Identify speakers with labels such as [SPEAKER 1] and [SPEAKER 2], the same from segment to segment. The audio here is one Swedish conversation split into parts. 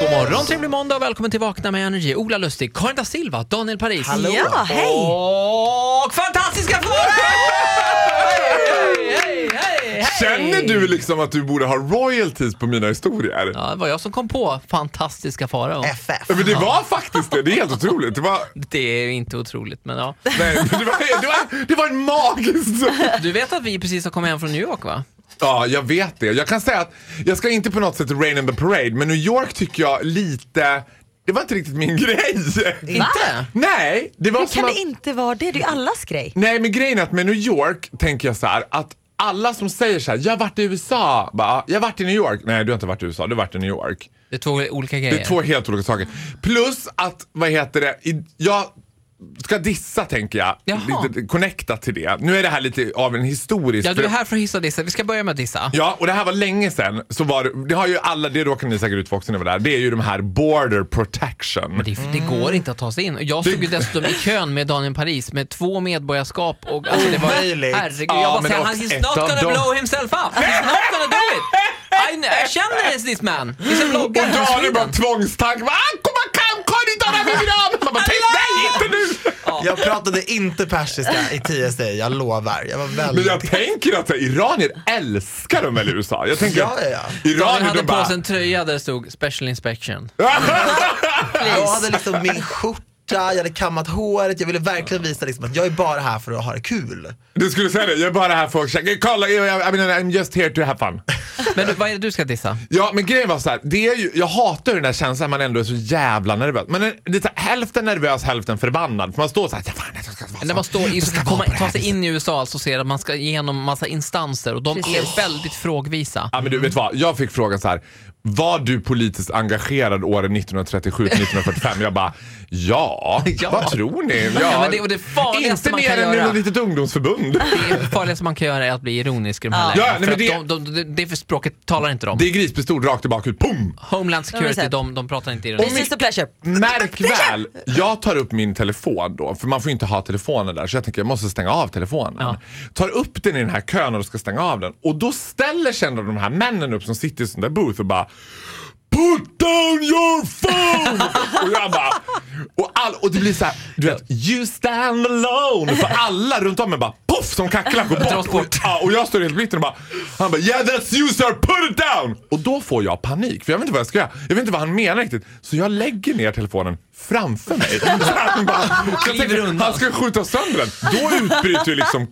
[SPEAKER 1] God morgon, trevlig måndag och välkommen till Vakna med Energy. Ola Lustig, Karin da Silva, Daniel Paris.
[SPEAKER 2] Hallå.
[SPEAKER 3] Ja, hej!
[SPEAKER 1] Och fantastiska Flora!
[SPEAKER 2] Känner du liksom att du borde ha royalties på mina historier?
[SPEAKER 1] Ja, det var jag som kom på fantastiska Farao.
[SPEAKER 2] Ja, Men det var faktiskt det, det är helt otroligt. Det var,
[SPEAKER 1] Det är inte otroligt, men ja.
[SPEAKER 2] nej, men det var, det var, det var en magisk...
[SPEAKER 1] Du vet att vi precis har kommit hem från New York, va?
[SPEAKER 2] Ja, jag vet det. Jag kan säga att jag ska inte på något sätt rain in the parade, men New York tycker jag lite... Det var inte riktigt min grej.
[SPEAKER 1] Inte?
[SPEAKER 2] Nej, det var
[SPEAKER 3] Hur
[SPEAKER 2] som
[SPEAKER 3] kan
[SPEAKER 2] att...
[SPEAKER 3] det inte vara det? Det är ju allas grej.
[SPEAKER 2] Nej, men grejen är att med New York tänker jag så här att alla som säger så här, jag har varit i USA, bara, jag har varit i New York. Nej, du har inte varit i USA, du har varit i New York.
[SPEAKER 1] Det är två olika grejer.
[SPEAKER 2] Det är två helt olika saker. Plus att, vad heter det, i- jag ska dissa tänker jag.
[SPEAKER 1] Jaha.
[SPEAKER 2] Lite connecta till det. Nu är det här lite av en historisk...
[SPEAKER 1] Ja, du är här för att hissa och dissa. Vi ska börja med att dissa.
[SPEAKER 2] Ja, och det här var länge sedan. Så var det, det har ju alla, det råkade ni säkert ut för också när ni var där. Det är ju de här border protection.
[SPEAKER 1] Det, det går inte att ta sig in. Och Jag stod ju dessutom i kön med Daniel Paris med två medborgarskap och alltså det var...
[SPEAKER 4] Omöjligt.
[SPEAKER 1] Herregud,
[SPEAKER 2] Ja,
[SPEAKER 1] jag bara
[SPEAKER 2] men
[SPEAKER 1] säger,
[SPEAKER 2] också
[SPEAKER 1] han is
[SPEAKER 2] ett
[SPEAKER 1] not
[SPEAKER 2] av
[SPEAKER 1] gonna
[SPEAKER 2] dem."
[SPEAKER 1] blow himself up. He's not gonna do it. I, kn- I känner this man. He's a
[SPEAKER 2] Och
[SPEAKER 1] blogger. from
[SPEAKER 2] Daniel bara
[SPEAKER 1] Sweden.
[SPEAKER 2] tvångstank. Va? Kom, kom, kom, inte av med mina armar! Man bara, "Tänk, nej, inte nu!
[SPEAKER 4] Jag pratade inte persiska i TSA, jag lovar. Jag var
[SPEAKER 2] Men
[SPEAKER 4] väldigt...
[SPEAKER 2] jag tänker att så här, iranier älskar de väl i USA? Jag tänker
[SPEAKER 4] Ja, ja, ja.
[SPEAKER 1] Daniel
[SPEAKER 2] iranier,
[SPEAKER 1] hade
[SPEAKER 2] de
[SPEAKER 1] på
[SPEAKER 2] bara...
[SPEAKER 1] sig en tröja där det stod Special Inspection.
[SPEAKER 4] Jag hade liksom min skjorta, jag hade kammat håret, jag ville verkligen visa liksom att jag är bara här för att ha det kul.
[SPEAKER 2] Du skulle säga det, jag är bara här för att checka. Kolla, jag- jag- I mean, I'm just here to have fun.
[SPEAKER 1] Men du, vad är det du ska dissa?
[SPEAKER 2] Ja, men grejen var så här, det är ju, jag hatar ju den där känslan man ändå är så jävla nervös. Man är lite hälften nervös, hälften förbannad. För man står så här, "Ja, fan, jag ska,
[SPEAKER 1] När man står i,
[SPEAKER 2] jag ska
[SPEAKER 1] komma,
[SPEAKER 2] vara på det
[SPEAKER 1] ta
[SPEAKER 2] här
[SPEAKER 1] sig in i USA alltså och ser att man ska igenom massa instanser och de är väldigt frågvisa.
[SPEAKER 2] Ja, men du vet vad, jag fick frågan så här. Var du politiskt engagerad åren 1937 till 1945? Jag bara, ja,
[SPEAKER 1] Ja.
[SPEAKER 2] vad tror ni? Ja,
[SPEAKER 1] men det är det farligaste
[SPEAKER 2] inte
[SPEAKER 1] man kan
[SPEAKER 2] mer än
[SPEAKER 1] göra.
[SPEAKER 2] ett litet ungdomsförbund.
[SPEAKER 1] Det farligaste man kan göra är att bli ironisk i de här
[SPEAKER 3] Ja.
[SPEAKER 1] lägena.
[SPEAKER 2] Ja, nej,
[SPEAKER 1] för
[SPEAKER 2] men
[SPEAKER 1] att de, de, de, det för språket talar inte de.
[SPEAKER 2] Det är grispistol rakt tillbaka ut, pum!
[SPEAKER 1] Homeland Security,
[SPEAKER 3] Ja, men så-
[SPEAKER 1] de, de pratar inte
[SPEAKER 3] This
[SPEAKER 1] ironiskt.
[SPEAKER 3] is the pleasure.
[SPEAKER 2] Märk väl, jag tar upp min telefon då, för man får ju inte ha telefonen där, så jag tänker jag måste stänga av telefonen.
[SPEAKER 1] Ja.
[SPEAKER 2] Tar upp den i den här kön och ska stänga av den och då ställer sig en av de här männen upp som sitter i sån där booth och bara Put down your phone! och jag bara, och, all, och det blir så här, du vet, you stand alone. För alla runt om mig bara poff som kacklar går
[SPEAKER 1] Dras
[SPEAKER 2] bort.
[SPEAKER 1] bort.
[SPEAKER 2] Ja, och jag står helt blicken och bara, han bara yeah that's you sir, put it down! Och då får jag panik för jag vet inte vad jag ska göra. Jag vet inte vad han menar riktigt. Så jag lägger ner telefonen framför mig. Så han, bara, jag
[SPEAKER 1] Kliver
[SPEAKER 2] tänker,
[SPEAKER 1] undan.
[SPEAKER 2] han ska skjuta sönder den. Då utbryter ju liksom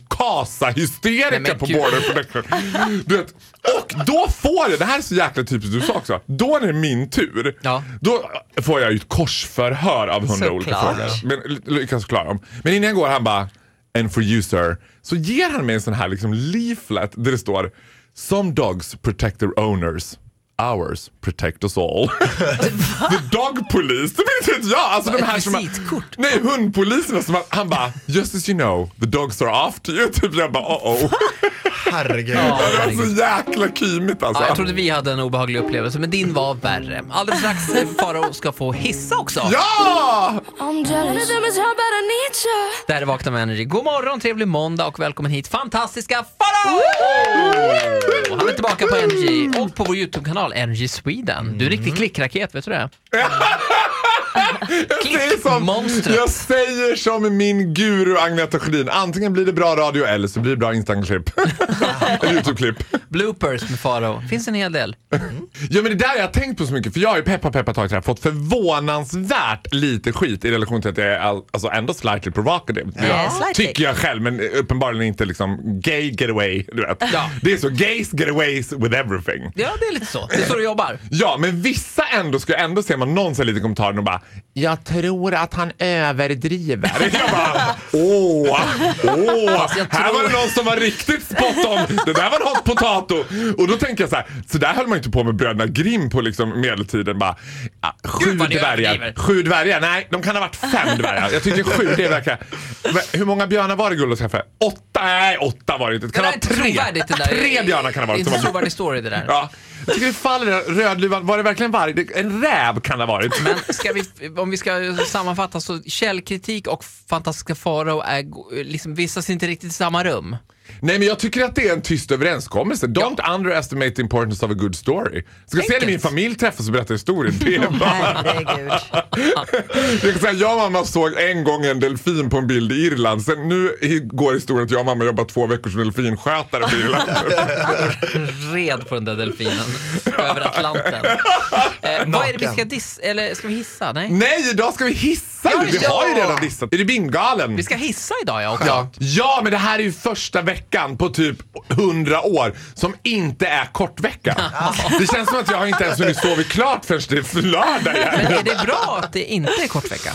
[SPEAKER 1] Nej,
[SPEAKER 2] kasa-hysterika
[SPEAKER 1] men
[SPEAKER 2] på
[SPEAKER 1] gud.
[SPEAKER 2] border protection. Du vet, och då får jag, det här är så jäkla typiskt du sa också, då när det är min tur,
[SPEAKER 1] Ja.
[SPEAKER 2] då får jag ju ett korsförhör av hundra olika
[SPEAKER 3] Såklart.
[SPEAKER 2] frågor. Men ly- lyckas klara dem. Men innan jag går han bara “And for you sir” så ger han mig en sån här liksom leaflet där det står “Some dogs protect their owners” Ours protect us all. The dog police. Det vet inte jag. Alltså de
[SPEAKER 1] Ett
[SPEAKER 2] här som har-
[SPEAKER 1] visitkort.
[SPEAKER 2] Nej, hundpoliserna som har- han bara “Just as you know, the dogs are after you”. Typ jag bara “Oh oh”.
[SPEAKER 4] Herregud.
[SPEAKER 1] Ja.
[SPEAKER 2] Det var så jäkla kymigt alltså.
[SPEAKER 1] Ja, jag trodde vi hade en obehaglig upplevelse, men din var värre. Alldeles strax eh, Farao ska få hissa också.
[SPEAKER 2] Ja!
[SPEAKER 5] I'm jealous. One of them is how bad I need you.
[SPEAKER 1] Det här är Vakna med Energy. God morgon, trevlig måndag och välkommen hit fantastiska Farao! Och Han är tillbaka på Energy och på vår YouTube-kanal Energy Sweden. Du är en
[SPEAKER 2] Mm.
[SPEAKER 1] riktig klickraket, vet du det?
[SPEAKER 2] Jag säger som,
[SPEAKER 1] Monstret.
[SPEAKER 2] jag säger som min guru Agneta Sjödin. Antingen blir det bra radio eller så blir det bra Instagram-klipp. eller YouTube-klipp.
[SPEAKER 1] Bloopers med Farao. Finns en hel del.
[SPEAKER 2] Ja men det där har jag tänkt på så mycket för jag har ju peppa peppa tagit det här fått förvånansvärt lite skit i relation till att jag är all, alltså ändå slightly provocative. Det
[SPEAKER 3] Ja,
[SPEAKER 2] jag-
[SPEAKER 3] slightly.
[SPEAKER 2] Tycker jag själv men uppenbarligen inte liksom gay getaway. Du vet.
[SPEAKER 1] Ja.
[SPEAKER 2] Det är så gays getaways with everything.
[SPEAKER 1] Ja, det är lite så. Det är så du jobbar.
[SPEAKER 2] Ja, men vissa ändå ska jag ändå se man någon säger lite i kommentaren och bara Jag tror att han överdriver. jag bara åh, åh. Här var det någon som var riktigt spot on. Det där var en hot potato. Och då tänker jag så här, så där höll man inte på med bröderna Grimm på liksom medeltiden. Bara, ja, sju
[SPEAKER 1] Gud, vad ni
[SPEAKER 2] dvärgar.
[SPEAKER 1] överdriver.
[SPEAKER 2] Sju dvärgar? Nej, de kan ha varit fem dvärgar. Jag tycker sju, det verkar... Men Hur många björnar var det Gullos kaffe? Åtta? Nej, åtta var det inte. Det kan
[SPEAKER 1] Det
[SPEAKER 2] ha
[SPEAKER 1] där är
[SPEAKER 2] varit
[SPEAKER 1] trovärdigt, det
[SPEAKER 2] tre.
[SPEAKER 1] där.
[SPEAKER 2] Tre björnar kan det ha varit.
[SPEAKER 1] Det är
[SPEAKER 2] som
[SPEAKER 1] en
[SPEAKER 2] var-
[SPEAKER 1] trovärdig story det där.
[SPEAKER 2] Ja. Jag tycker det faller där. Rödluvan, var det verkligen varg? Det- En räv kan det ha varit.
[SPEAKER 1] Men ska vi, om vi ska sammanfatta så källkritik och fantastiska farao är go- liksom, vistas inte riktigt i samma rum.
[SPEAKER 2] Nej, men jag tycker att det är en tyst överenskommelse. Don't underestimate the importance of a good story. Ska se när min familj träffas och berättar historier. Det är bara...
[SPEAKER 3] Herregud.
[SPEAKER 2] Jag, kan säga, jag och mamma såg en gång en delfin på en bild i Irland. Sen nu i- går historien att jag och mamma jobbar två veckor som delfinskötare på Irland.
[SPEAKER 1] Red på den där delfinen över Atlanten. Eh, vad är det vi ska diss... Eller ska vi hissa? Nej.
[SPEAKER 2] Nej, idag ska vi hissa!
[SPEAKER 1] Ja,
[SPEAKER 2] vi
[SPEAKER 1] ja.
[SPEAKER 2] har ju redan dissat. Är det bingalen?
[SPEAKER 1] Vi ska hissa idag ja också.
[SPEAKER 2] Ja. ja, men det här är ju första veckan på typ 100 år som inte är kortvecka. Det känns som att jag inte ens hunnit sova klart förrän det är lördag igen.
[SPEAKER 1] Men är det bra att det inte är kort vecka?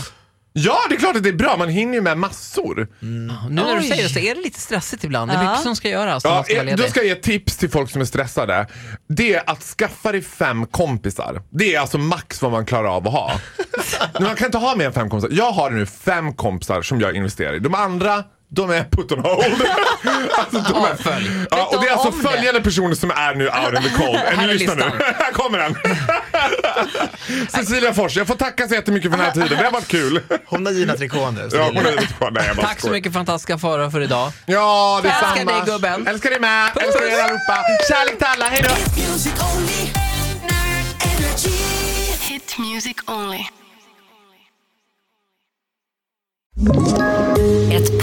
[SPEAKER 2] Ja, det är klart att det är bra. Man hinner ju med massor.
[SPEAKER 1] Nu när du
[SPEAKER 3] Oj.
[SPEAKER 1] säger det så är det lite stressigt ibland. Det är
[SPEAKER 3] Ja.
[SPEAKER 1] mycket som ska göras. när
[SPEAKER 2] Ja,
[SPEAKER 1] man ska vara
[SPEAKER 2] eh, då
[SPEAKER 1] ledig.
[SPEAKER 2] ska jag ge ett tips till folk som är stressade. Det är att skaffa dig fem kompisar. Det är alltså max vad man klarar av att ha. Men man kan inte ha mer än fem kompisar. Jag har nu fem kompisar som jag investerar i. De andra de är put on hold. alltså, de är,
[SPEAKER 1] Avfölj.
[SPEAKER 2] ja, och det är
[SPEAKER 1] Vet de
[SPEAKER 2] alltså
[SPEAKER 1] om det?
[SPEAKER 2] följande personer som är nu out in the cold.
[SPEAKER 1] Här
[SPEAKER 2] Är ni
[SPEAKER 1] är
[SPEAKER 2] lyssna nu?
[SPEAKER 1] listan.
[SPEAKER 2] Här kommer den. Cecilia Fors, jag får tacka så jättemycket för den här tiden. Det har varit kul.
[SPEAKER 4] Hon har Gina Tricot nu. så
[SPEAKER 2] Ja,
[SPEAKER 4] det
[SPEAKER 2] hon
[SPEAKER 4] är lugnt.
[SPEAKER 2] är lite kvar. Nej, jag bara
[SPEAKER 1] Tack så
[SPEAKER 2] skojar.
[SPEAKER 1] mycket fantastiska Farao för idag.
[SPEAKER 2] Ja, det
[SPEAKER 1] Älskar
[SPEAKER 2] samma.
[SPEAKER 1] dig, gubben.
[SPEAKER 2] Älskar dig med.
[SPEAKER 1] Puss,
[SPEAKER 2] Älskar er
[SPEAKER 1] puss.
[SPEAKER 2] allihopa. Kärlek till alla. Hej då.
[SPEAKER 6] Music only. Energy.
[SPEAKER 7] Hit music only.
[SPEAKER 8] Ett